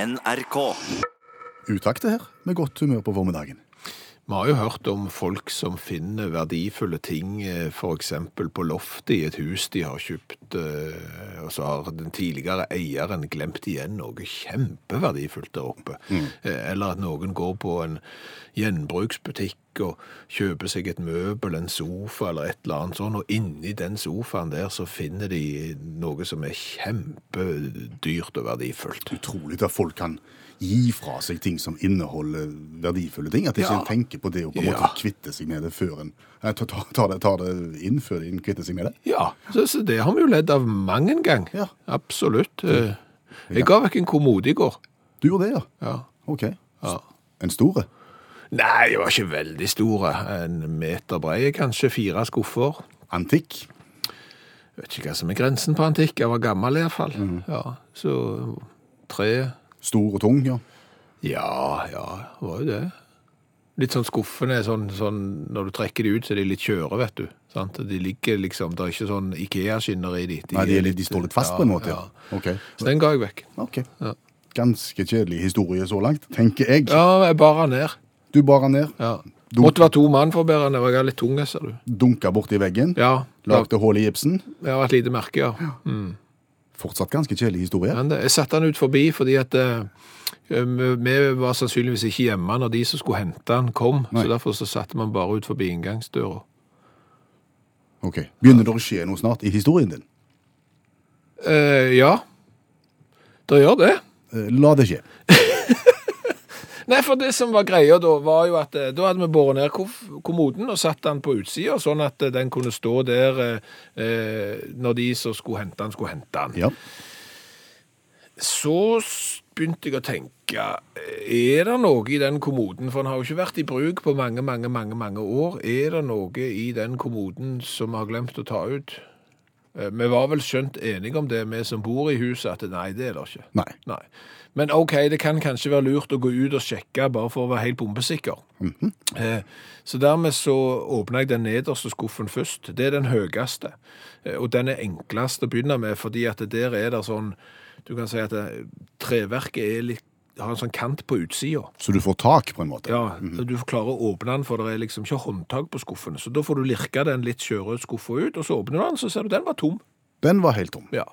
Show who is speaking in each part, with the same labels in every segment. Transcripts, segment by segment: Speaker 1: NRK.
Speaker 2: Utakt det her, med godt humør på formiddagen.
Speaker 3: Vi har jo hørt om folk som finner verdifulle ting, eh, for eksempel på loftet i et hus de har kjøpt, eh, og så har den tidligere eieren glemt igjen noe kjempeverdifullt der oppe. Eh, Eller at noen går på en gjenbruksbutikk og kjøper seg et møbel, en sofa eller et eller annet sånn, og inni den sofaen der så finner de noe som er kjempedyrt og verdifullt.
Speaker 2: Utrolig at folk kan gi fra seg ting som inneholder verdifulle ting. At ikke
Speaker 3: Ja.
Speaker 2: en tenker på det og på en
Speaker 3: Ja.
Speaker 2: måte kvitte seg med det før en Nei, ta- ta- tar det, tar det inn før en kvitter seg med det.
Speaker 3: Ja, så, så det har vi jo ledd av mang en gang.
Speaker 2: Ja.
Speaker 3: Absolutt. Eh, Jeg ga vekk en kommode i går.
Speaker 2: Du gjorde det, ja?
Speaker 3: Ja.
Speaker 2: OK.
Speaker 3: Ja.
Speaker 2: En store?
Speaker 3: Nei, jeg var ikke veldig store. En meter brei, kanskje fire skuffer.
Speaker 2: Antikk?
Speaker 3: Jeg vet ikke hva som er grensen på antikk. Jeg var gammel i hvert fall.
Speaker 2: Mm.
Speaker 3: Ja, så tre...
Speaker 2: Stor og tung, ja.
Speaker 3: Ja, ja, det var jo det. Litt sånn skuffende, sånn, sånn, når du trekker de ut, så er de litt kjøre, vet du. Sant? De ligger liksom, det er ikke sånn IKEA-skinner i de.
Speaker 2: Nei, de, er litt, de står litt fast på en måte.
Speaker 3: Ja,
Speaker 2: Ja. OK.
Speaker 3: ja. Så den ga jeg vekk.
Speaker 2: Ok.
Speaker 3: Ja.
Speaker 2: Ganske kjedelig historie så langt, tenker jeg.
Speaker 3: Ja, jeg bar han ned.
Speaker 2: Du bar han ned,
Speaker 3: Ja.
Speaker 2: Dunk-
Speaker 3: Måtte være to mann for å bære den. Jeg er litt tung, ser du.
Speaker 2: dunka borti veggen,
Speaker 3: Ja, lag-
Speaker 2: lagde hull i gipsen.
Speaker 3: jeg har et lite merke, ja. Mm.
Speaker 2: Fortsatt ganske kjedelig historie.
Speaker 3: Men det- jeg satte han ut forbi fordi at eh, vi vi var sannsynligvis ikke hjemme når de som skulle hente han kom,
Speaker 2: Nei.
Speaker 3: så derfor så satte man bare ut forbi inngangsdøra.
Speaker 2: Ok. Begynner det å skje noe snart i historien din?
Speaker 3: Eh, ja, det gjør det.
Speaker 2: Eh, La det skje.
Speaker 3: Nei, for det som var greia da, var jo at eh, da hadde vi båret ned kof- kommoden og satt den på utsida, sånn at eh, den kunne stå der eh, eh, når de som skulle hente den, skulle hente den.
Speaker 2: Ja.
Speaker 3: Så s- begynte jeg å tenke, er det noe i den kommoden, for den har jo ikke vært i bruk på mange, mange, mange, mange år, er det noe i den kommoden som vi har glemt å ta ut? Eh, Vi var vel skjønt enige om det, vi som bor i huset, at nei, det er det ikke.
Speaker 2: Nei.
Speaker 3: Nei. Men ok, det kan kanskje være lurt å gå ut og sjekke, bare for å være helt bombesikker. Eh, Så dermed så åpna jeg den nederste skuffen først. Det er den høyeste, eh, og den er enklest å begynne med, fordi at det der er det sånn Du kan si at eh, treverket er litt har en sånn kant på utsida.
Speaker 2: Så du får tak, på en måte?
Speaker 3: Ja, Du klarer å åpne den, for det er liksom ikke håndtak på skuffene. Så da får du lirke den litt skjøre skuffa ut, og så åpner du den, så ser du den var tom.
Speaker 2: Den var helt tom.
Speaker 3: Ja.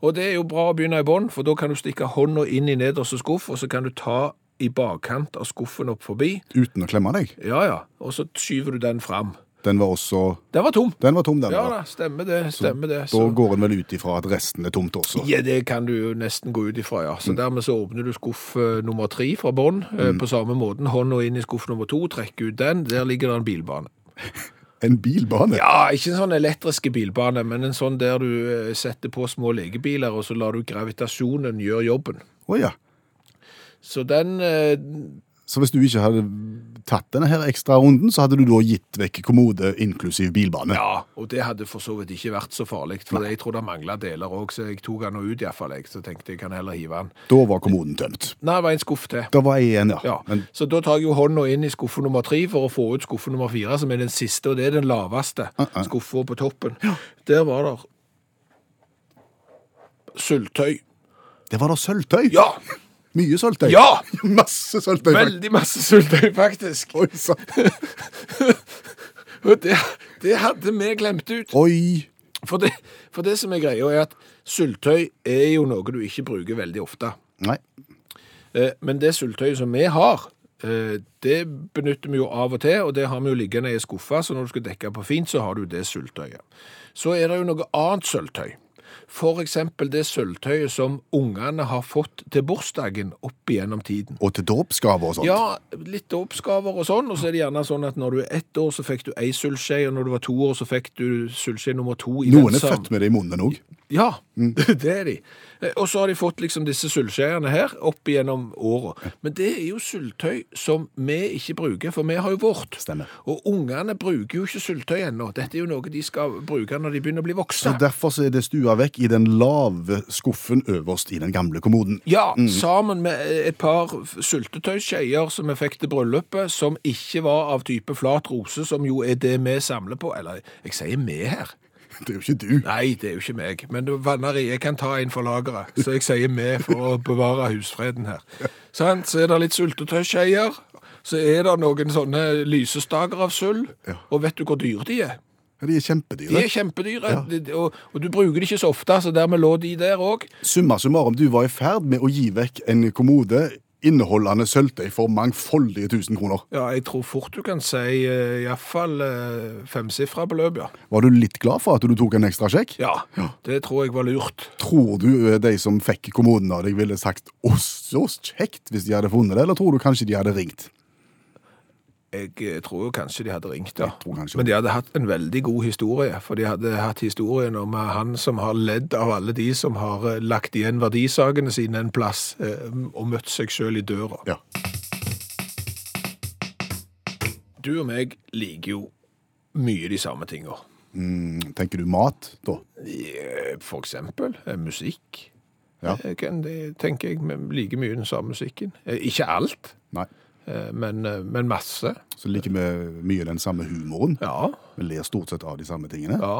Speaker 3: Og det er jo bra å begynne i bånn, for da kan du stikke hånda inn i nederste skuff, og så kan du ta i bakkant av skuffen opp forbi.
Speaker 2: Uten å klemme deg.
Speaker 3: Ja, ja. Og så skyver du den fram.
Speaker 2: Den var også
Speaker 3: Den var tom.
Speaker 2: Den var tom, den.
Speaker 3: Ja
Speaker 2: da.
Speaker 3: da, stemmer det. stemmer det.
Speaker 2: Da
Speaker 3: Så,
Speaker 2: går en vel ut ifra at resten er tomt også.
Speaker 3: ja, det kan du jo nesten gå ut ifra, ja.
Speaker 2: Mm.
Speaker 3: Så dermed så åpner du skuff eh, nummer tre fra bånn eh, på samme måten. Hånda inn i skuff nummer to, trekker ut den. Der ligger det en bilbane.
Speaker 2: En bilbane?
Speaker 3: Ja, ikke en sånn elektriske bilbane, men en sånn der du eh, setter på små legebiler, og så lar du gravitasjonen gjøre jobben.
Speaker 2: Å ja.
Speaker 3: Så den eh,
Speaker 2: Så hvis du ikke hadde tatt denne her ekstra runden, så hadde du da gitt vekk kommode inklusiv bilbane?
Speaker 3: Ja, og det hadde for så vidt ikke vært så farlig, for jeg tror det mangla deler òg, så jeg tok han nå ut iallfall, jeg. Så tenkte jeg kan heller hive han.
Speaker 2: Da var kommoden tømt.
Speaker 3: Nei, det var en skuff til.
Speaker 2: Da var jeg igjen, ja.
Speaker 3: Ja,
Speaker 2: Men
Speaker 3: Så da tar jeg jo hånda inn i skuffe nummer tre for å få ut skuffe nummer fire, som er den siste, og det er den laveste skuffa på toppen. Der var der Syltøy.
Speaker 2: det var da sølvtøy?
Speaker 3: Ja!
Speaker 2: Mye sølvtøy?
Speaker 3: Ja!
Speaker 2: Masse sølvtøy. faktisk.
Speaker 3: Veldig masse syltøy, faktisk.
Speaker 2: Oi, sann.
Speaker 3: Og det, det hadde vi glemt ut.
Speaker 2: Oi.
Speaker 3: For det, for det som er greia, er at syltøy er jo noe du ikke bruker veldig ofte.
Speaker 2: Nei.
Speaker 3: Eh, Men det syltøyet som vi har, eh, det benytter vi jo av og til, og det har vi jo liggende i skuffa, så når du skal dekke på fint, så har du det syltøyet. Så er det jo noe annet syltøy. For eksempel det syltøyet som ungene har fått til bursdagen opp igjennom tiden.
Speaker 2: Og til dåpsgaver og sånt.
Speaker 3: Ja, litt oppskaver og sånn, og så er det gjerne sånn at når du er ett år, så fikk du ei sylskje, og når du var to år, så fikk du sylskje nummer to. i den
Speaker 2: Noen er
Speaker 3: samme-
Speaker 2: født med det i munnen òg.
Speaker 3: ja,
Speaker 2: Mm.
Speaker 3: det er de. Eh, Og så har de fått liksom disse sylskjeiene her opp gjennom året. Men det er jo syltøy som vi ikke bruker, for vi har jo vårt.
Speaker 2: Stemmer.
Speaker 3: Og ungene bruker jo ikke syltøy ennå. Dette er jo noe de skal bruke når de begynner å bli
Speaker 2: Så
Speaker 3: voksne.
Speaker 2: derfor så er det stua vekk i den lave skuffen øverst i den gamle kommoden.
Speaker 3: Ja, sammen med eh, et par syltetøyskjeier som vi fikk til bryllupet, som ikke var av type flat rose, som jo er det vi samler på. Eller, jeg sier vi her.
Speaker 2: Det er jo ikke du.
Speaker 3: Nei, det er jo ikke meg. Men du, Vannari, jeg kan ta en for lageret. Så jeg sier vi for å bevare husfreden her. Sant? Så er det litt sultetøysskeier. Så er det noen sånne lysestaker av sølv.
Speaker 2: Ja.
Speaker 3: Og vet du hvor dyre de er?
Speaker 2: De er
Speaker 3: De
Speaker 2: kjempedyre.
Speaker 3: er kjempedyre. De- Og, og du bruker de ikke så ofte, så dermed lå de der òg.
Speaker 2: Summa summarum, du var i ferd med å gi vekk en kommode inneholdende sølvtøy for mangfoldige tusen kroner.
Speaker 3: Ja, jeg tror fort du kan si eh, iallfall eh, femsifra beløp, ja.
Speaker 2: Var du litt glad for at du tok en ekstra sjekk?
Speaker 3: ja. Det tror jeg var lurt.
Speaker 2: Tror du eh, de som fikk kommoden av deg, ville sagt 'Å, så kjekt' hvis de hadde funnet det, eller tror du kanskje de hadde ringt?
Speaker 3: Jeg eh, tror jo kanskje de hadde ringt, ja.
Speaker 2: tror kanskje.
Speaker 3: Men de hadde hatt en veldig god historie. For de hadde hatt historien om eh, han som har ledd av alle de som har eh, lagt igjen verdisakene sine en plass, eh, og møtt seg sjøl i døra.
Speaker 2: Ja.
Speaker 3: Du og meg liker jo mye de samme tinga.
Speaker 2: Mm, tenker du mat, da?
Speaker 3: For eksempel eh, musikk.
Speaker 2: Ja.
Speaker 3: Eh, Kan det, tenker jeg, vi liker mye den samme musikken. Eh, Ikke alt,
Speaker 2: Nei.
Speaker 3: eh, men, eh, men masse.
Speaker 2: Så liker vi mye den samme humoren.
Speaker 3: Ja,
Speaker 2: Vi ler stort sett av de samme tingene.
Speaker 3: ja,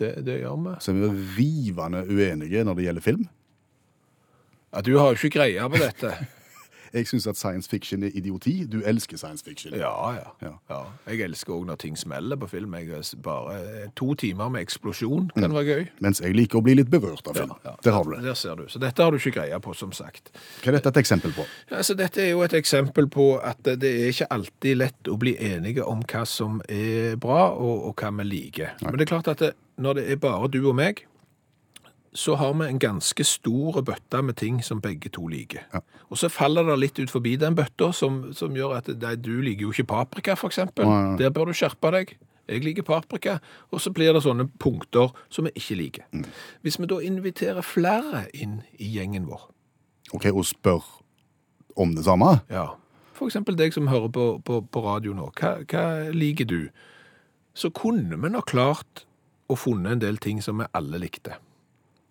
Speaker 3: det, det gjør vi.
Speaker 2: Så er vi rivende uenige når det gjelder film.
Speaker 3: Ja, du har jo ikke greie på dette.
Speaker 2: Jeg syns at science fiction er idioti. Du elsker science fiction.
Speaker 3: Ja, ja.
Speaker 2: Ja.
Speaker 3: ja. Jeg elsker òg når ting smeller på film. Jeg er s- bare eh, To timer med eksplosjon kan være gøy.
Speaker 2: Mens jeg liker å bli litt berørt av film.
Speaker 3: Ja, ja.
Speaker 2: Der har du det.
Speaker 3: Der ser du. Så dette har du ikke greie på, som sagt.
Speaker 2: Hva er dette et eksempel på?
Speaker 3: Ja, så dette er jo et eksempel på at det er ikke alltid lett å bli enige om hva som er bra, og, og hva vi liker. Men det er klart at det, når det er bare du og meg, så har vi en ganske stor bøtte med ting som begge to liker.
Speaker 2: Ja.
Speaker 3: Og så faller det litt ut forbi den bøtta, som, som gjør at nei, du liker jo ikke paprika, for eksempel.
Speaker 2: Nei, nei.
Speaker 3: Der bør du skjerpe deg. Jeg liker paprika. Og så blir det sånne punkter som vi ikke liker.
Speaker 2: Mm.
Speaker 3: Hvis vi da inviterer flere inn i gjengen vår,
Speaker 2: Ok, Å spørre om det samme?
Speaker 3: ja. For eksempel deg som hører på, på, på radio nå. Hva, hva liker du? Så kunne vi nok klart å funnet en del ting som vi alle likte.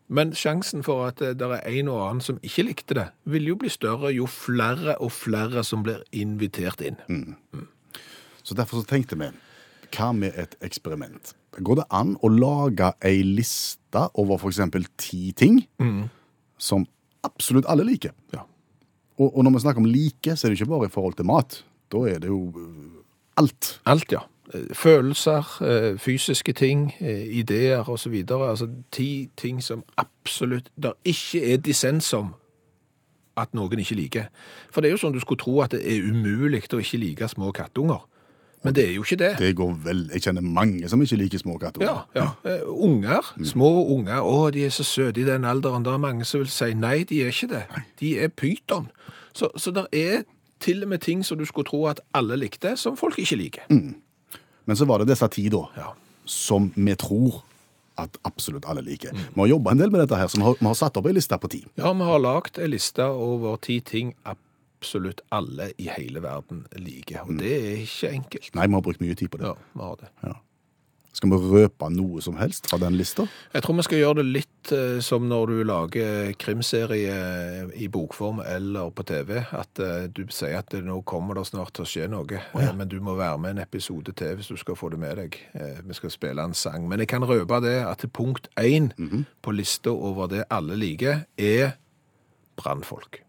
Speaker 3: Men sjansen for at det er en og annen som ikke likte det, vil jo bli større jo flere og flere som blir invitert inn.
Speaker 2: Så derfor så tenkte vi, hva med et eksperiment? Går det an å lage ei liste over for eksempel ti ting
Speaker 3: Mm.
Speaker 2: som absolutt alle liker?
Speaker 3: Ja.
Speaker 2: Og, og når vi snakker om like, så er det ikke bare i forhold til mat. Da er det jo øh, alt.
Speaker 3: Alt, ja. Eh, Følelser, eh, fysiske ting, eh, ideer osv. Altså ti ting som absolutt der ikke er dissens om at noen ikke liker. For det er jo sånn du skulle tro at det er umulig å ikke like små kattunger. Men det er jo ikke det.
Speaker 2: Det går vel, Jeg kjenner mange som ikke liker små katter.
Speaker 3: Ja, ja. Eh, Unger, små unger, å, de er så søte i den alderen. Det er mange som vil si nei, de er ikke det. De er pyton. Så, så det er til og med ting som du skulle tro at alle likte, som folk ikke liker.
Speaker 2: Men så var det disse ti, da,
Speaker 3: Ja.
Speaker 2: som vi tror at absolutt alle liker.
Speaker 3: Mm.
Speaker 2: Vi har jobba en del med dette her, så vi har, vi har satt opp ei liste på ti.
Speaker 3: Ja, vi har lagd ei liste over ti ting absolutt alle i hele verden liker. Og det er ikke enkelt.
Speaker 2: Nei, vi har brukt mye tid på det.
Speaker 3: Mm. Ja, vi har det.
Speaker 2: Skal vi røpe noe som helst fra den lista?
Speaker 3: Jeg tror vi skal gjøre det litt eh, som når du lager krimserie i bokform eller på TV. At eh, du sier at nå kommer det snart til å skje noe, eh, men du må være med en episode til hvis du skal få det med deg. Eh, Vi skal spille en sang. Men jeg kan røpe det at punkt én på lista over det alle liker, er brannfolk.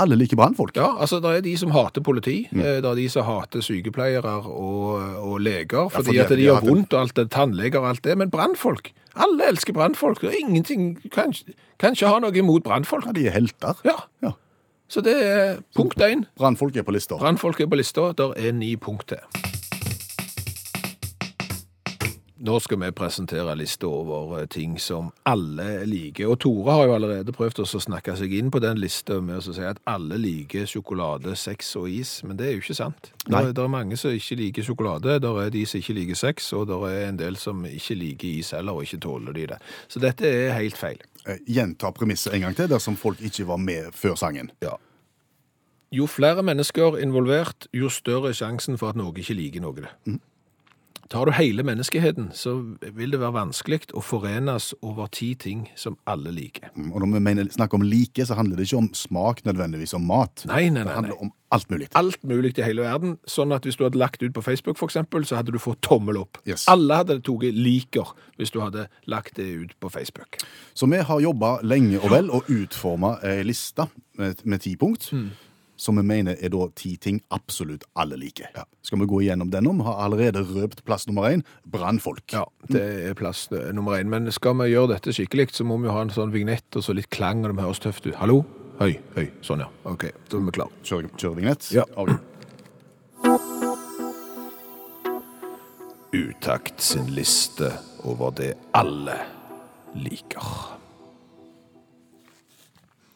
Speaker 2: Alle liker brannfolk.
Speaker 3: Ja, altså det er de som hater politi, eh, det er de som hater sykepleiere og, og leger, fordi
Speaker 2: fordi
Speaker 3: at de
Speaker 2: de
Speaker 3: gjør
Speaker 2: hater-
Speaker 3: vondt og alt det, tannleger og alt det, men brandfolk, alle elsker brandfolk, og ingenting, kan, kan ikke ha noe imot brandfolk.
Speaker 2: Ja, de er helter.
Speaker 3: Ja,
Speaker 2: Ja.
Speaker 3: så det er punkt 1.
Speaker 2: Brannfolk er på lista.
Speaker 3: Brandfolk er på lista, der er ni punkt til. Nå skal vi presentere lista over eh, ting som alle liker. Og Tore har jo allerede prøvd også å snakke seg inn på den lista med å si at alle liker sjokolade, sex og is, men det er jo ikke sant.
Speaker 2: Nei.
Speaker 3: Det er mange som ikke liker sjokolade, det er de som ikke liker sex, og det er en del som ikke liker is heller, og ikke tåler de det. Så dette er helt feil.
Speaker 2: Eh, Gjenta premisset en gang til, dersom folk ikke var med før sangen.
Speaker 3: Ja. Mm. Jo flere mennesker involvert, jo større er sjansen for at noe ikke liker noe. Tar du hele menneskeheten, så vil det være vanskelig å forenes over ti ting som alle liker.
Speaker 2: Mm, Og når vi mener, snakker om like, så handler det ikke om smak nødvendigvis om mat.
Speaker 3: Nei,
Speaker 2: Det
Speaker 3: nei, nei. nei.
Speaker 2: handler om alt mulig.
Speaker 3: Alt mulig i hele verden, sånn at hvis du hadde lagt ut på Facebook for eksempel, så hadde du fått tommel opp.
Speaker 2: Yes.
Speaker 3: Alle hadde tatt liker hvis du hadde lagt det ut på Facebook.
Speaker 2: Så vi har jobba lenge og vel og utforma ei liste med, med ti punkt.
Speaker 3: Mm.
Speaker 2: Som vi mener er da ti ting absolutt alle liker. Skal vi gå igjennom den om? Har allerede røpt plass nummer én brannfolk.
Speaker 3: Ja, det er plass eh, nummer én. Men skal vi gjøre dette skikkelig, så må vi jo ha en sånn vignett og så litt klang, og det må høres tøft ut. Hallo? Høy, høy. Sånn, ja. OK, da er vi klare.
Speaker 2: Kjør, kjør vignett?
Speaker 3: Ja.
Speaker 2: Ok.
Speaker 3: Utakt sin liste over det alle liker.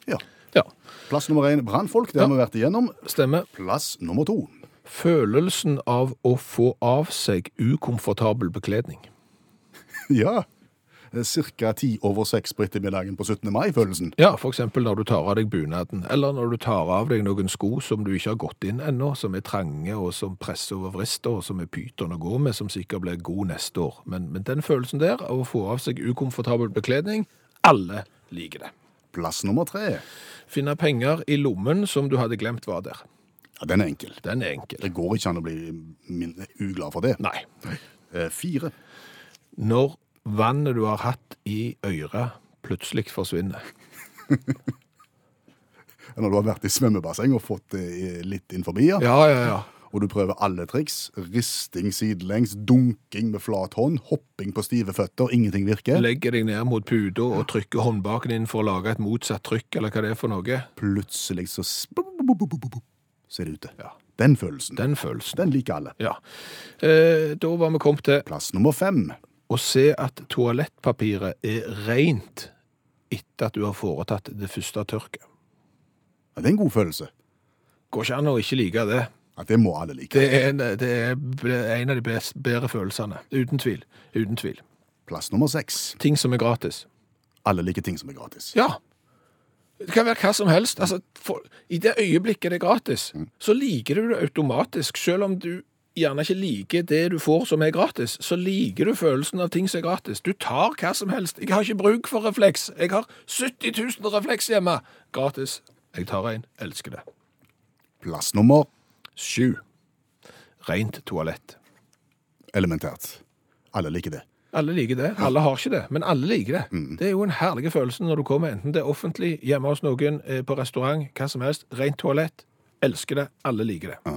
Speaker 2: ja.
Speaker 3: Ja,
Speaker 2: Plass nummer én brannfolk, det har vi vært igjennom.
Speaker 3: stemmer.
Speaker 2: Plass nummer to.
Speaker 3: Følelsen av å få av seg ukomfortabel bekledning.
Speaker 2: Ja. Cirka ti over seks på ettermiddagen på 17. mai-følelsen.
Speaker 3: Ja, for eksempel når du tar av deg bunaden, eller når du tar av deg noen sko som du ikke har gått inn ennå, som er trange og som presser over vrister, og som er pyton å gå med, som sikkert blir god neste år. Men, men den følelsen der, av å få av seg ukomfortabel bekledning, alle liker det.
Speaker 2: Plass nummer tre.
Speaker 3: Finne penger i lommen som du hadde glemt var der.
Speaker 2: Ja, Den er enkel.
Speaker 3: Den er enkel.
Speaker 2: Det går ikke an å bli min- uglad for det.
Speaker 3: Nei.
Speaker 2: Eh, Fire.
Speaker 3: Når vannet du har hatt i øret, plutselig forsvinner.
Speaker 2: Når du har vært i svømmebasseng og fått det litt inn forbi, ja.
Speaker 3: Ja, ja, ja.
Speaker 2: og du prøver alle triks, risting sidelengs, dunking med flat hånd, hopping på stive føtter, ingenting virker,
Speaker 3: Legger deg ned mot puta og trykker håndbaken inn for å lage et motsatt trykk, eller hva det er for noe.
Speaker 2: plutselig så s- så er det ute.
Speaker 3: Ja.
Speaker 2: Den følelsen,
Speaker 3: Den følelsen.
Speaker 2: den liker alle.
Speaker 3: Ja. Eh, da var vi kommet til
Speaker 2: Plass nummer fem.
Speaker 3: å se at toalettpapiret er rent etter at du har foretatt det første tørket.
Speaker 2: Ja, det er en god følelse.
Speaker 3: Går ikke an å ikke like det.
Speaker 2: Ja, det må alle like.
Speaker 3: Det er en, det er en av de best, bedre følelsene. Uten tvil. Uten tvil.
Speaker 2: Plass nummer seks.
Speaker 3: Ting som er gratis.
Speaker 2: Alle liker ting som er gratis.
Speaker 3: Ja. Det kan være hva som helst. Altså, for, I det øyeblikket det er gratis, så liker du det automatisk. Selv om du gjerne ikke liker det du får som er gratis, så liker du følelsen av ting som er gratis. Du tar hva som helst. Jeg har ikke bruk for refleks. Jeg har 70 000 refleks hjemme. Gratis. Jeg tar en. Elsker det.
Speaker 2: Plass nummer
Speaker 3: Sju. Rent toalett.
Speaker 2: elementært. Alle liker det.
Speaker 3: Alle liker det. Alle har ikke det, men alle liker det.
Speaker 2: Mm.
Speaker 3: Det er jo en herlig følelse når du kommer, enten det er offentlig, hjemme hos noen, eh, på restaurant, hva som helst. Rent toalett. Elsker det. Alle liker det.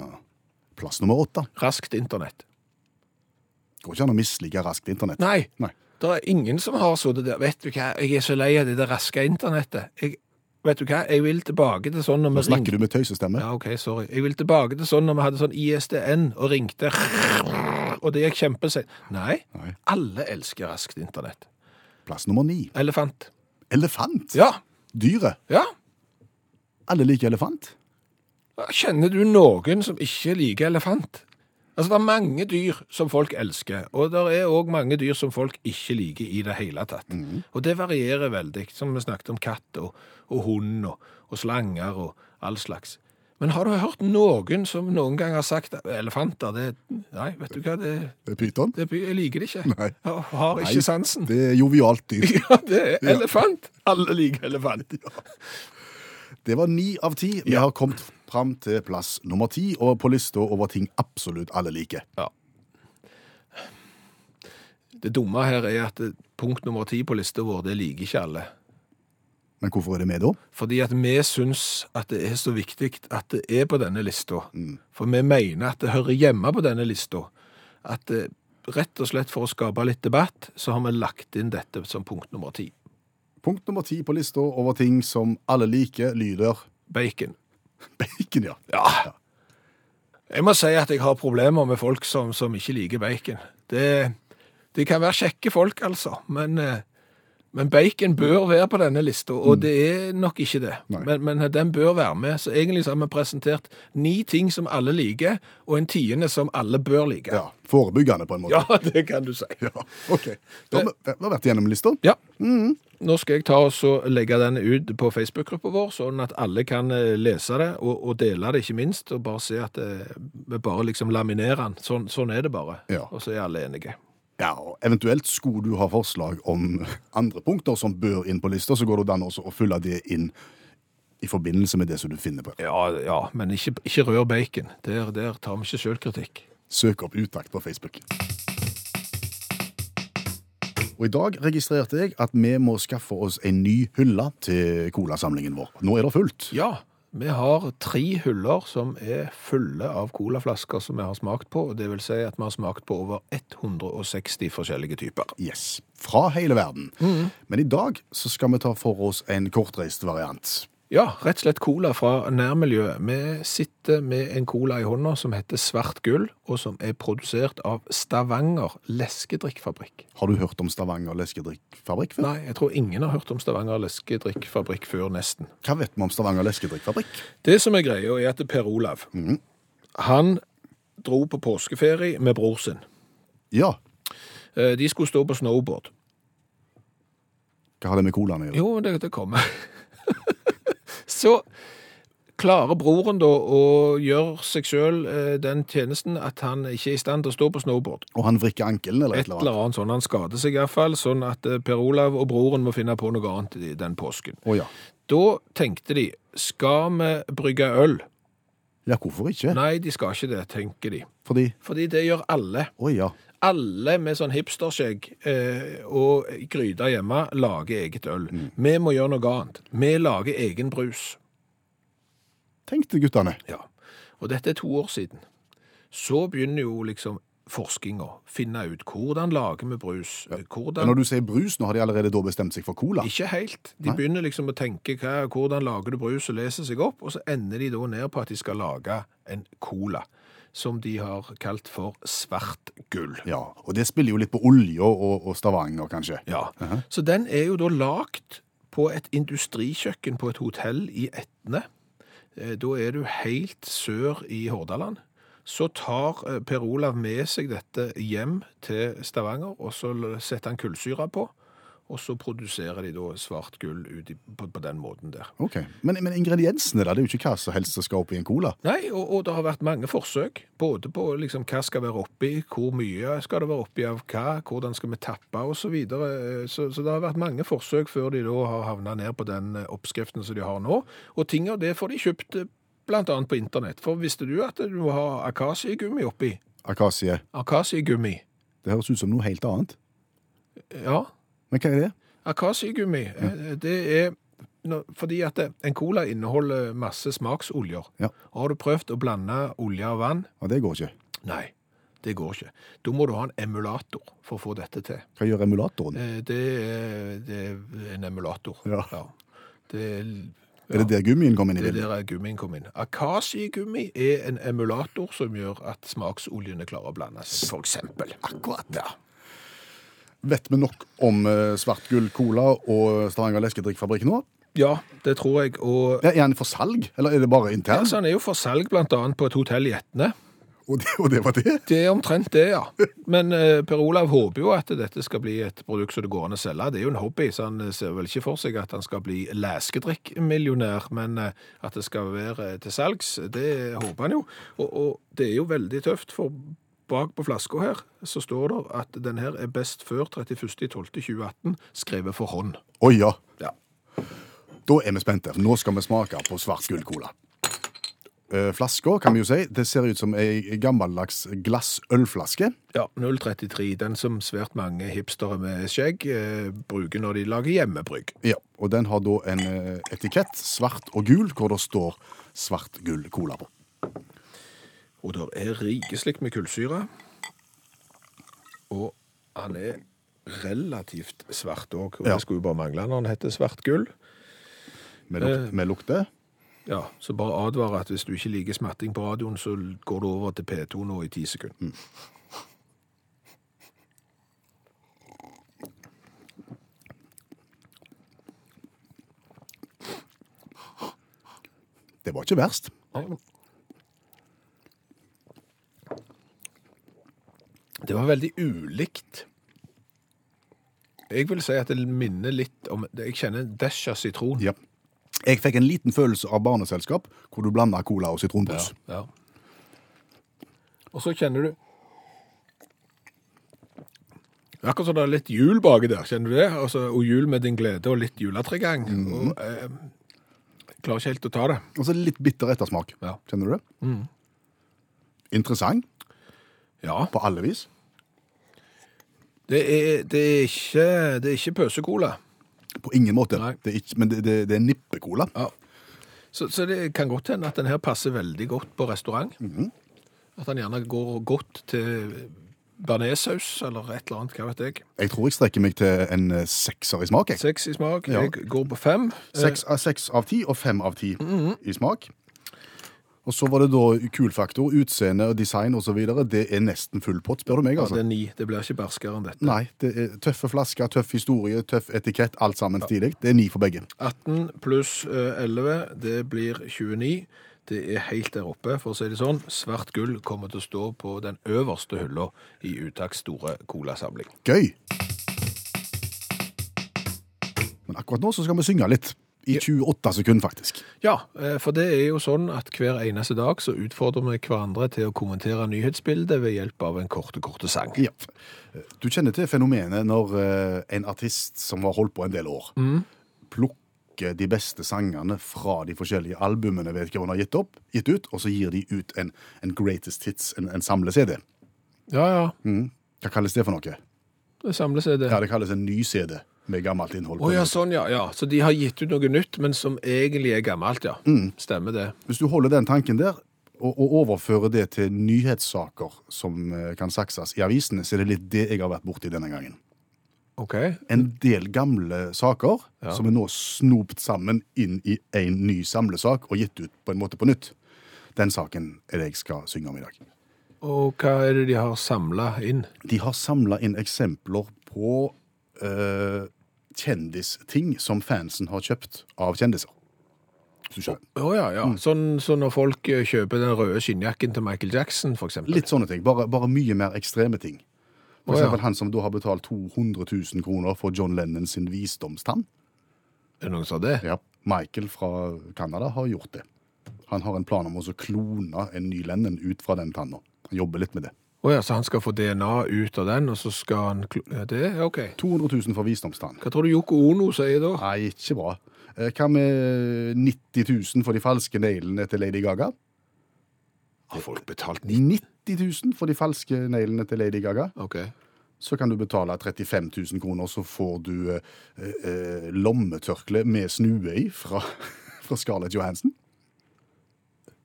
Speaker 2: Plass nummer åtte.
Speaker 3: Raskt internett.
Speaker 2: Går ikke an å mislike raskt internett.
Speaker 3: Nei,
Speaker 2: Nei.
Speaker 3: det er ingen som har sittet der. Vet du hva, jeg er så lei av det der raske internettet. Jeg, vet du hva, jeg vil tilbake til sånn når vi
Speaker 2: Nå snakker du med tøysestemme.
Speaker 3: Ja, ok, sorry. Jeg vil tilbake til sånn når vi hadde sånn ISDN og ringte, og det gikk kjempesent. Nei,
Speaker 2: Nei.
Speaker 3: alle elsker raskt internett.
Speaker 2: Plass nummer ni.
Speaker 3: Elefant.
Speaker 2: Elefant.
Speaker 3: Ja,
Speaker 2: Dyret.
Speaker 3: ja.
Speaker 2: Alle liker elefant.
Speaker 3: Kjenner du noen som ikke liker elefant? Altså, Det er mange dyr som folk elsker, og det er òg mange dyr som folk ikke liker i det hele tatt.
Speaker 2: Mhm.
Speaker 3: Og det varierer veldig, som vi snakket om katt og, og hund og, og slanger og all slags. Men har du hørt noen som noen gang har sagt at elefanter det, Nei, vet du hva, det,
Speaker 2: Det er Pyton?
Speaker 3: det, jeg liker det ikke.
Speaker 2: Nei.
Speaker 3: Jeg har
Speaker 2: Nei,
Speaker 3: ikke sansen.
Speaker 2: Det er jovialt dyr.
Speaker 3: Ja, det er elefant. Alle liker elefant.
Speaker 2: Det var ni av ti. Vi har kommet fram til plass nummer ti, og på lista over ting absolutt alle liker.
Speaker 3: Det dumme her er at eh, punkt nummer ti på lista vår, det liker ikke alle.
Speaker 2: Men hvorfor er det med, da?
Speaker 3: Fordi at vi syns at det er så viktig at det er på denne lista. For vi mener at det hører hjemme på denne lista. At eh, rett og slett for å skape litt debatt, så har vi lagt inn dette som punkt nummer ti.
Speaker 2: Punkt nummer ti på lista over ting som alle liker, lyder
Speaker 3: Bacon.
Speaker 2: bacon, ja.
Speaker 3: Ja. Jeg må si at jeg har problemer med folk som, som ikke liker bacon. Det, de kan være kjekke folk, altså, men eh, Men bacon bør være på denne lista, og det er nok ikke det.
Speaker 2: Mm. Nei.
Speaker 3: Men, men eh, den bør være med. Så egentlig så har vi presentert ni ting som alle liker, og en tiende som alle bør like.
Speaker 2: Ja, Forebyggende, på en måte.
Speaker 3: Ja, det kan du si.
Speaker 2: Ja, OK. Da har vi- vi har vært gjennom lista.
Speaker 3: Ja. Nå skal jeg ta og så legge den ut på Facebook-gruppa vår, sånn at alle kan eh, lese det og, og dele det, ikke minst. Og bare se at eh, vi bare liksom laminerer den. Sånn, sånn er det bare.
Speaker 2: Ja.
Speaker 3: Og så er alle enige.
Speaker 2: Ja, og Eventuelt skulle du ha forslag om andre punkter som bør inn på lista, så går det an også å fylle det inn i forbindelse med det som du finner på.
Speaker 3: Ja, ja, men ikke, ikke rør bacon. Der, der tar vi ikke sjølkritikk.
Speaker 2: Søk opp Utakt på Facebook. Og I dag registrerte jeg at vi må skaffe oss en ny hylle til colasamlingen vår. Nå er det fullt.
Speaker 3: Ja, vi har tre hyller som er fulle av colaflasker som vi har smakt på. Det vil si at vi har smakt på over 160 forskjellige typer.
Speaker 2: Yes. Fra hele verden.
Speaker 3: Mm.
Speaker 2: Men i dag så skal vi ta for oss en kortreist variant.
Speaker 3: Ja, rett og slett cola fra nærmiljøet. Vi sitter med en cola i hånda som heter Svart Gull, og som er produsert av Stavanger leskedrikkfabrikk.
Speaker 2: Har du hørt om Stavanger leskedrikkfabrikk før?
Speaker 3: Nei, jeg tror ingen har hørt om Stavanger leskedrikkfabrikk før, nesten.
Speaker 2: Hva vet vi om Stavanger leskedrikkfabrikk?
Speaker 3: Det som er greia, er at Per Olav, han dro på påskeferie med bror sin.
Speaker 2: Ja.
Speaker 3: Eh, De skulle stå på snowboard.
Speaker 2: Hva har det med colaen å gjøre?
Speaker 3: Jo, det, det kommer. så klarer broren da å gjøre seg sjøl eh, den tjenesten at han ikke er i stand til å stå på snowboard.
Speaker 2: Og han vrikker ankelen eller
Speaker 3: Et eller annet sånn. Han skader seg iallfall, sånn at eh, Per Olav og broren må finne på noe annet i den påsken.
Speaker 2: Å ja.
Speaker 3: Da tenkte de skal vi brygge øl?
Speaker 2: ja, hvorfor ikke?
Speaker 3: Nei, de skal ikke det, tenker de.
Speaker 2: Fordi
Speaker 3: Fordi det gjør alle.
Speaker 2: Å ja.
Speaker 3: Alle med sånn hipsterskjegg eh, og gryte hjemme lager eget øl. Vi må gjøre noe annet. Vi lager egen brus.
Speaker 2: Tenk det, guttene.
Speaker 3: Ja. Og dette er to år siden. Så begynner jo liksom forskinga. Finne ut hvordan lager vi brus. Hvordan
Speaker 2: Når du sier brus, nå har de allerede da bestemt seg for cola.
Speaker 3: Ikke helt. De begynner liksom å tenke hva, hvordan lager du brus, og leser seg opp, og så ender de da ned på at de skal lage en cola. Som de har kalt for svart gull.
Speaker 2: Ja, Og det spiller jo litt på olja og, og Stavanger, kanskje.
Speaker 3: Ja. Så den er jo da lagd på et industrikjøkken på et hotell i Etne. Eh, Da er du helt sør i Hordaland. Så tar eh, Per Olav med seg dette hjem til Stavanger, og så l- setter han kullsyra på. Og så produserer de da svart gull ut i, på, på den måten der.
Speaker 2: Ok, Men, men ingrediensene, da? Det er jo ikke hva som helst som skal oppi en cola.
Speaker 3: Nei, og, og det har vært mange forsøk, både på liksom, hva skal være oppi, hvor mye skal det være oppi av hva, hvordan skal vi tappe og så videre. Eh, Så, så det har vært mange forsøk før de da har havnet ned på den eh, oppskriften som de har nå. Og ting av det får de kjøpt eh, blant annet på internett. For visste du at du må ha akasiegummi oppi?
Speaker 2: Akasie.
Speaker 3: Akasiegummi,
Speaker 2: Det høres ut som noe helt annet.
Speaker 3: ja.
Speaker 2: Men hva er det?
Speaker 3: Akasiegummi, eh, det er nå- fordi at eh, en cola inneholder masse smaksoljer.
Speaker 2: Ja.
Speaker 3: Har du prøvd å blande olje og vann?
Speaker 2: Ja, Det går ikke.
Speaker 3: Nei, det går ikke. Da må du ha en emulator for å få dette til.
Speaker 2: Hva gjør emulatoren?
Speaker 3: Eh, Det er, det er en emulator.
Speaker 2: Ja.
Speaker 3: Det, er,
Speaker 2: Er det der gummien kom inn i
Speaker 3: det er
Speaker 2: bildet?
Speaker 3: der gummien kom inn. Akasi-gummi er en emulator som gjør at smaksoljene klarer å blande seg, for eksempel. Akkurat. Ja.
Speaker 2: Vet vi nok om eh, svart gull cola og Stavanger leskedrikkfabrikk nå?
Speaker 3: ja, det tror jeg. Og
Speaker 2: Ja, er den for salg, eller er det bare intern?
Speaker 3: altså, han er jo for salg blant annet på et hotell i Etne.
Speaker 2: Og det, og det var det?
Speaker 3: Det er omtrent det, ja. Men eh, Per Olav håper jo at dette skal bli et produkt som det går an å selge. Det er jo en hobby, så han eh, ser vel ikke for seg at han skal bli leskedrikkmillionær, men eh, at det skal være til salgs, det håper han jo. Og, og det er jo veldig tøft, for bak på flaska her så står det at den her er best før 31.12.2018, skrevet for hånd.
Speaker 2: Å ja.
Speaker 3: Ja.
Speaker 2: Da er vi spente. for Nå skal vi smake på svart gull-cola. Eh, Flaska, kan vi jo si, det ser ut som ei gammeldags glassølflaske.
Speaker 3: Ja, 033, den som svært mange hipstere med skjegg eh, bruker når de lager hjemmebrygg.
Speaker 2: Ja, og den har da en eh, etikett, svart og gul, hvor det står svart gull-cola på.
Speaker 3: Og det er rikeslikt med kullsyre. Og han er relativt svart òg. Og
Speaker 2: Ja.
Speaker 3: det skulle jo bare mangle når han heter svart gull.
Speaker 2: Med,
Speaker 3: Eh.
Speaker 2: luk med lukte.
Speaker 3: Ja, Så bare advare at hvis du ikke liker smatting på radioen, så går du over til P2 nå i ti sekunder.
Speaker 2: Det var ikke verst.
Speaker 3: Det var veldig ulikt. Jeg vil si at det minner litt om Jeg kjenner en dash av sitron.
Speaker 2: Ja. Jeg fikk en liten følelse av barneselskap, hvor du blanda cola og sitronbrus.
Speaker 3: Ja. Og så kjenner du Det er Akkurat som det er litt jul baki der, kjenner du det? Altså, og jul med din glede og litt juletregang. Og, eh, jeg klarer ikke helt å ta det.
Speaker 2: Og så Altså litt bitter ettersmak.
Speaker 3: Ja. Mm.
Speaker 2: Kjenner du det? Interessant
Speaker 3: Ja,
Speaker 2: på alle vis.
Speaker 3: det er, det er ikke, det er ikke pøsekola.
Speaker 2: På ingen måte.
Speaker 3: Nei.
Speaker 2: Det er ikke, men det, det, det er nippecola.
Speaker 3: Ja. Så, så det kan godt hende at den her passer veldig godt på restaurant. At den gjerne går godt til bearnéssaus eller et eller annet, hva vet jeg.
Speaker 2: Jeg tror jeg strekker meg til en eh, sekser i smak. jeg.
Speaker 3: Seks i smak,
Speaker 2: Ja.
Speaker 3: jeg går på fem.
Speaker 2: Seks, av- seks av ti og fem av ti
Speaker 3: Mm-hmm.
Speaker 2: i smak. Og så var det da kulfaktor, utseende, design osv. Det er nesten full pott, spør du meg.
Speaker 3: Ja,
Speaker 2: altså.
Speaker 3: det er ni, det blir ikke barskere enn dette.
Speaker 2: Nei, det er tøffe flasker, tøff historie, tøff etikett, alt sammen stilig. Det er ni for begge.
Speaker 3: 18 pluss eh, 11, det blir 29. Det er helt der oppe, for å si det sånn. Svart gull kommer til å stå på den øverste hylla i Utaks store colasamling.
Speaker 2: Gøy! Men akkurat nå så skal vi synge litt. I 28 sekunder, faktisk.
Speaker 3: Ja, eh, for det er jo sånn at hver eneste dag så utfordrer vi hverandre til å kommentere nyhetsbildet ved hjelp av en korte, korte sang.
Speaker 2: Ja. Du kjenner til fenomenet når eh, en artist som har holdt på en del år,
Speaker 3: Mm.
Speaker 2: plukker de beste sangene fra de forskjellige albumene vet ikke hva hun har gitt, opp, gitt ut, og så gir de ut en, en greatest hits, en, en samle-CD.
Speaker 3: Ja, ja,
Speaker 2: Mm. Hva kalles det for noe?
Speaker 3: det samles er det.
Speaker 2: Ja, det kalles en ny CD med gammelt innhold.
Speaker 3: Å ja, sånn ja, ja. Så de har gitt ut noe nytt, men som egentlig er gammelt, ja.
Speaker 2: Mm.
Speaker 3: Stemmer det.
Speaker 2: Hvis du holder den tanken der, og, og overfører det til nyhetssaker som eh, kan sakses i avisene, så er det litt det jeg har vært borti denne gangen.
Speaker 3: Ok.
Speaker 2: En del gamle saker som er nå snopt sammen inn i en ny samlesak og gitt ut på en måte på nytt. Den saken er det jeg skal synge om i dag.
Speaker 3: Og hva er det de har samlet inn?
Speaker 2: De har samla inn eksempler på eh, kjendisting som fansen har kjøpt av kjendiser. Hvis du skjønner.
Speaker 3: Å ja, ja.
Speaker 2: Mm.
Speaker 3: Sånn så når folk eh, kjøper den røde skinnjakken til Michael Jackson, for eksempel.
Speaker 2: Litt sånne ting. Bare, bare mye mer ekstreme ting. For
Speaker 3: Å, ja.
Speaker 2: eksempel han som da har betalt 200 000 kroner for John Lennon sin visdomstann.
Speaker 3: Er det noen som har det?
Speaker 2: Michael fra Canada har gjort det. Han har en plan om også å klone en ny Lennon ut fra den tanna. Han jobber litt med det.
Speaker 3: Å ja, så han skal få DNA ut av den, og så skal han... kl- eh, Det er ok.
Speaker 2: 200 000 for visdomstann.
Speaker 3: Hva tror du Yoko Ono sier da?
Speaker 2: Nei, ikke bra. Eh, Hva med 90 000 for de falske neglene til Lady Gaga?
Speaker 3: Har folk betalt
Speaker 2: 90 000 for de falske neglene til Lady Gaga?
Speaker 3: Ok.
Speaker 2: så kan du betale 35 000 kroner, så får du eh, eh, lommetørkle med snue i fra, fra Scarlett Johansen.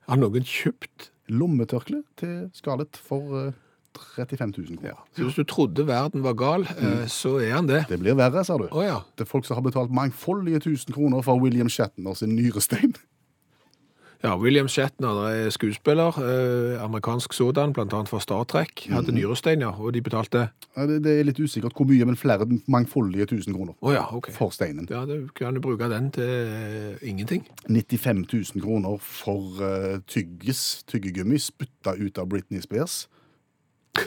Speaker 3: Har noen kjøpt?
Speaker 2: Lommetørkle til Scarlett for eh, 35 000 kroner.
Speaker 3: Så hvis du trodde verden var gal,
Speaker 2: Mm.
Speaker 3: eh, så er han det.
Speaker 2: Det blir verre, sa du.
Speaker 3: Å ja.
Speaker 2: Det er folk som har betalt mangfoldige tusen kroner for William Shatner sin nyrestein.
Speaker 3: Ja, William Shatner er skuespiller, eh, amerikansk sådan, blant annet fra Star Trek. Hadde
Speaker 2: Mm.
Speaker 3: nyrestein, ja, og de betalte...
Speaker 2: Ja, Det, det er litt usikkert hvor mye, men flere mangfoldige tusen kroner
Speaker 3: Å ja, ok.
Speaker 2: for steinen.
Speaker 3: Ja, du kan jo bruke den til eh, ingenting.
Speaker 2: 95 000 kroner for eh, tyggis, tyggegummi, spytta ut av Britney Spears.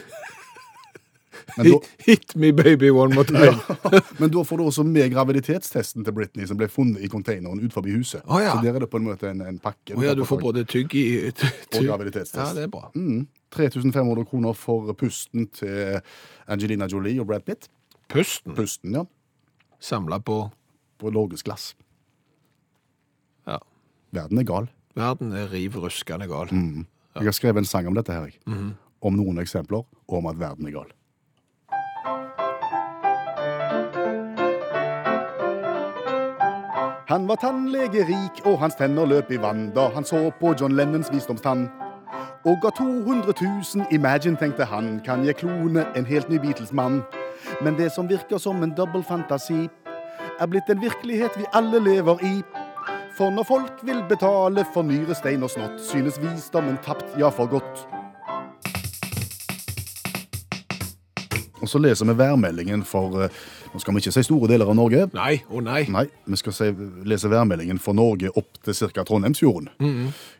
Speaker 2: Men da,
Speaker 3: Hit, hit me baby one more time.
Speaker 2: Ja. Men da får du også med graviditetstesten til Britney, som ble funnet i containeren ut forbi huset.
Speaker 3: Å, ja.
Speaker 2: Så der er det på en måte en, en pakke.
Speaker 3: Å ja, du får både tygg i...
Speaker 2: Og
Speaker 3: Tygg.
Speaker 2: graviditetstest.
Speaker 3: Ja, det er bra.
Speaker 2: Mm. 3500 kroner for pusten til Angelina Jolie og Brad Pitt.
Speaker 3: Pusten
Speaker 2: Pusten, ja.
Speaker 3: samlet på...
Speaker 2: På norgesglass.
Speaker 3: Ja,
Speaker 2: Verden er gal.
Speaker 3: verden er rivruskende gal.
Speaker 2: Jeg har skrevet en sang om dette her, jeg. Om noen eksempler, og om at verden er gal. Han var tannlegerik, og hans tenner løp i vann da han så på John Lennons visdomstann. Og ga 200 000, imagine, tenkte han, kan jeg klone en helt ny Beatles-mann. Men det som virker som en dobbel fantasi, er blitt en virkelighet vi alle lever i. For når folk vil betale for nyrestein og snott, synes visdommen tapt, ja, for godt. Og Og så leser vi værmeldingen for eh, Nå skal vi ikke si store deler av Norge.
Speaker 3: Nei, å nei.
Speaker 2: Nei, vi skal si, lese værmeldingen for Norge opp til ca. Trondheimsfjorden.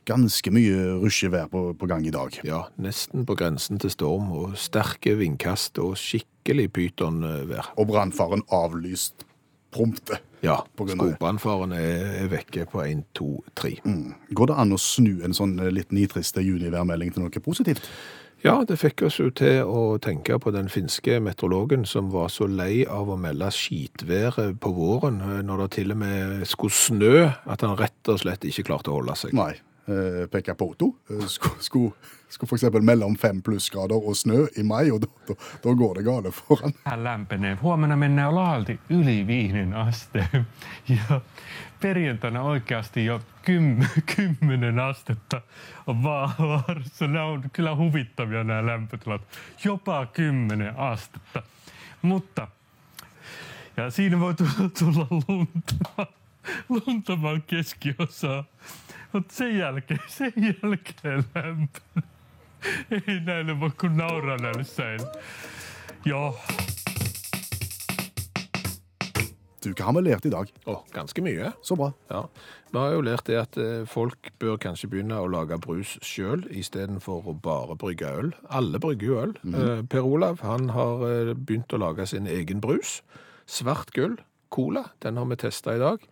Speaker 2: Ganske mye rusjevær på, på gang i dag.
Speaker 3: Ja, nesten på grensen til storm og sterke vindkast og skikkelig eh, pytonvær.
Speaker 2: Og brannfaren avlyst prompte.
Speaker 3: Ja,
Speaker 2: På grunn av det.
Speaker 3: skogbrannfaren er er vekke på 1, 2, 3.
Speaker 2: Går det an å snu en sånn eh, litt nitriste juniværmelding til noe positivt?
Speaker 3: Ja, det fikk oss jo til å tenke på den finske meteorologen som var så lei av å melde skitværet på våren eh, når det til og med skulle snø, at han rett og slett ikke klarte å holde seg.
Speaker 2: Nei. Eh, Pekka Poto eh, skulle, skulle, skulle f.eks. melde om fem plussgrader og snø i mai, og da, da, da går det gale for han.
Speaker 1: Vähän lämpenee. Huomenna mennään laalti yli viiden asteen. Ja perjantaina oikeasti jo kym, kymmenen astetta on vaarassa. Nämä on kyllä huvittavia nämä lämpötilat. Jopa kymmenen astetta. Mutta ja siinä voi tulla, tulla lunta, lunta vaan keskiosaa. Mutta sen jälkeen, sen jälkeen lämpö. Ei näille voi kun nauraa näille säille. Joo.
Speaker 2: Du, hva har vi lært i dag?
Speaker 3: Å, ganske mye.
Speaker 2: Så bra.
Speaker 3: Ja. Vi har jo lært det at eh, folk bør kanskje begynne å lage brus sjøl, istedenfor å bare brygge øl. Alle brygger jo øl. Eh, Per Olav han har eh, begynt å lage sin egen brus. Svart gull, cola, den har vi testa i dag.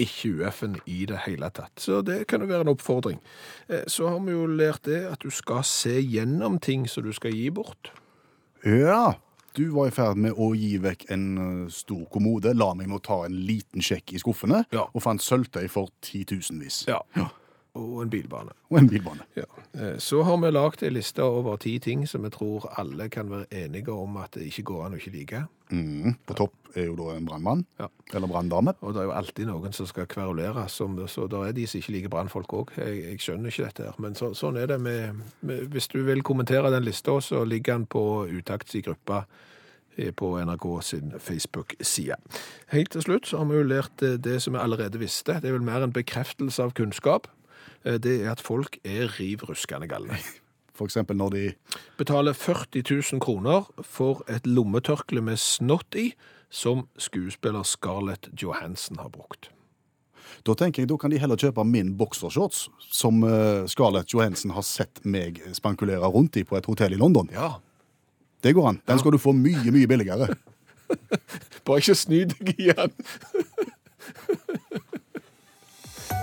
Speaker 3: Ikke UF-en i det hele tatt. Så det kan jo være en oppfordring. Eh, Så har vi jo lært det at du skal se gjennom ting som du skal gi bort.
Speaker 2: Ja, du var i ferd med å gi vekk en eh, stor kommode. La meg nå ta en liten sjekk i skuffene,
Speaker 3: Ja.
Speaker 2: og fant sølvtøy for titusenvis.
Speaker 3: Ja. Og en bilbane.
Speaker 2: Og en bilbane.
Speaker 3: Ja. eh, Så har vi lagd ei liste over ti ting som vi tror alle kan være enige om at det ikke går an å ikke like.
Speaker 2: Mhm. På topp er jo da en brannmann.
Speaker 3: Ja.
Speaker 2: Eller branndame.
Speaker 3: Og det er jo alltid noen som skal kverulere, som, så det er de som ikke liker brannfolk òg. Jeg, jeg skjønner ikke dette her. Men så, sånn er det med, med Hvis du vil kommentere den lista, så ligger den på Utakts i gruppa eh, på NRK sin Facebook-side. Helt til slutt så har vi jo lært eh, det som vi allerede visste. Det er vel mer en bekreftelse av kunnskap. Eh, Det er at folk er riv ruskende galne.
Speaker 2: For eksempel når de
Speaker 3: betaler 40 000 kroner for et lommetørkle med snott i, som skuespiller Scarlett Johansen har brukt.
Speaker 2: Da tenker jeg, da kan de heller kjøpe min boksershorts, som eh, Scarlett Johansen har sett meg spankulere rundt i på et hotell i London.
Speaker 3: Ja,
Speaker 2: Det går an. Den skal du få mye, mye billigere.
Speaker 3: bare ikke sny deg igjen.